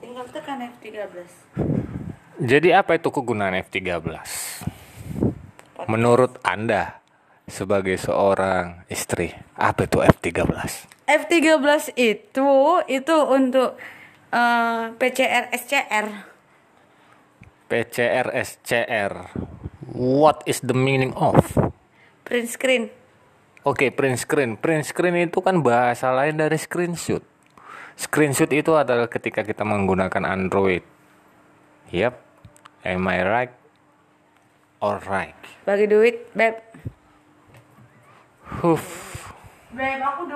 dokter kan F13 Jadi apa itu kegunaan F13? Menurut Anda sebagai seorang istri, apa itu F13? F13 itu itu untuk eh, PCR SCR PCR SCR. What is the meaning of? print screen Oke, print screen. Print screen itu kan bahasa lain dari screenshot. Screenshot itu adalah ketika kita menggunakan Android. Yap. Am I right or right? bagi duit beb Huff. beb aku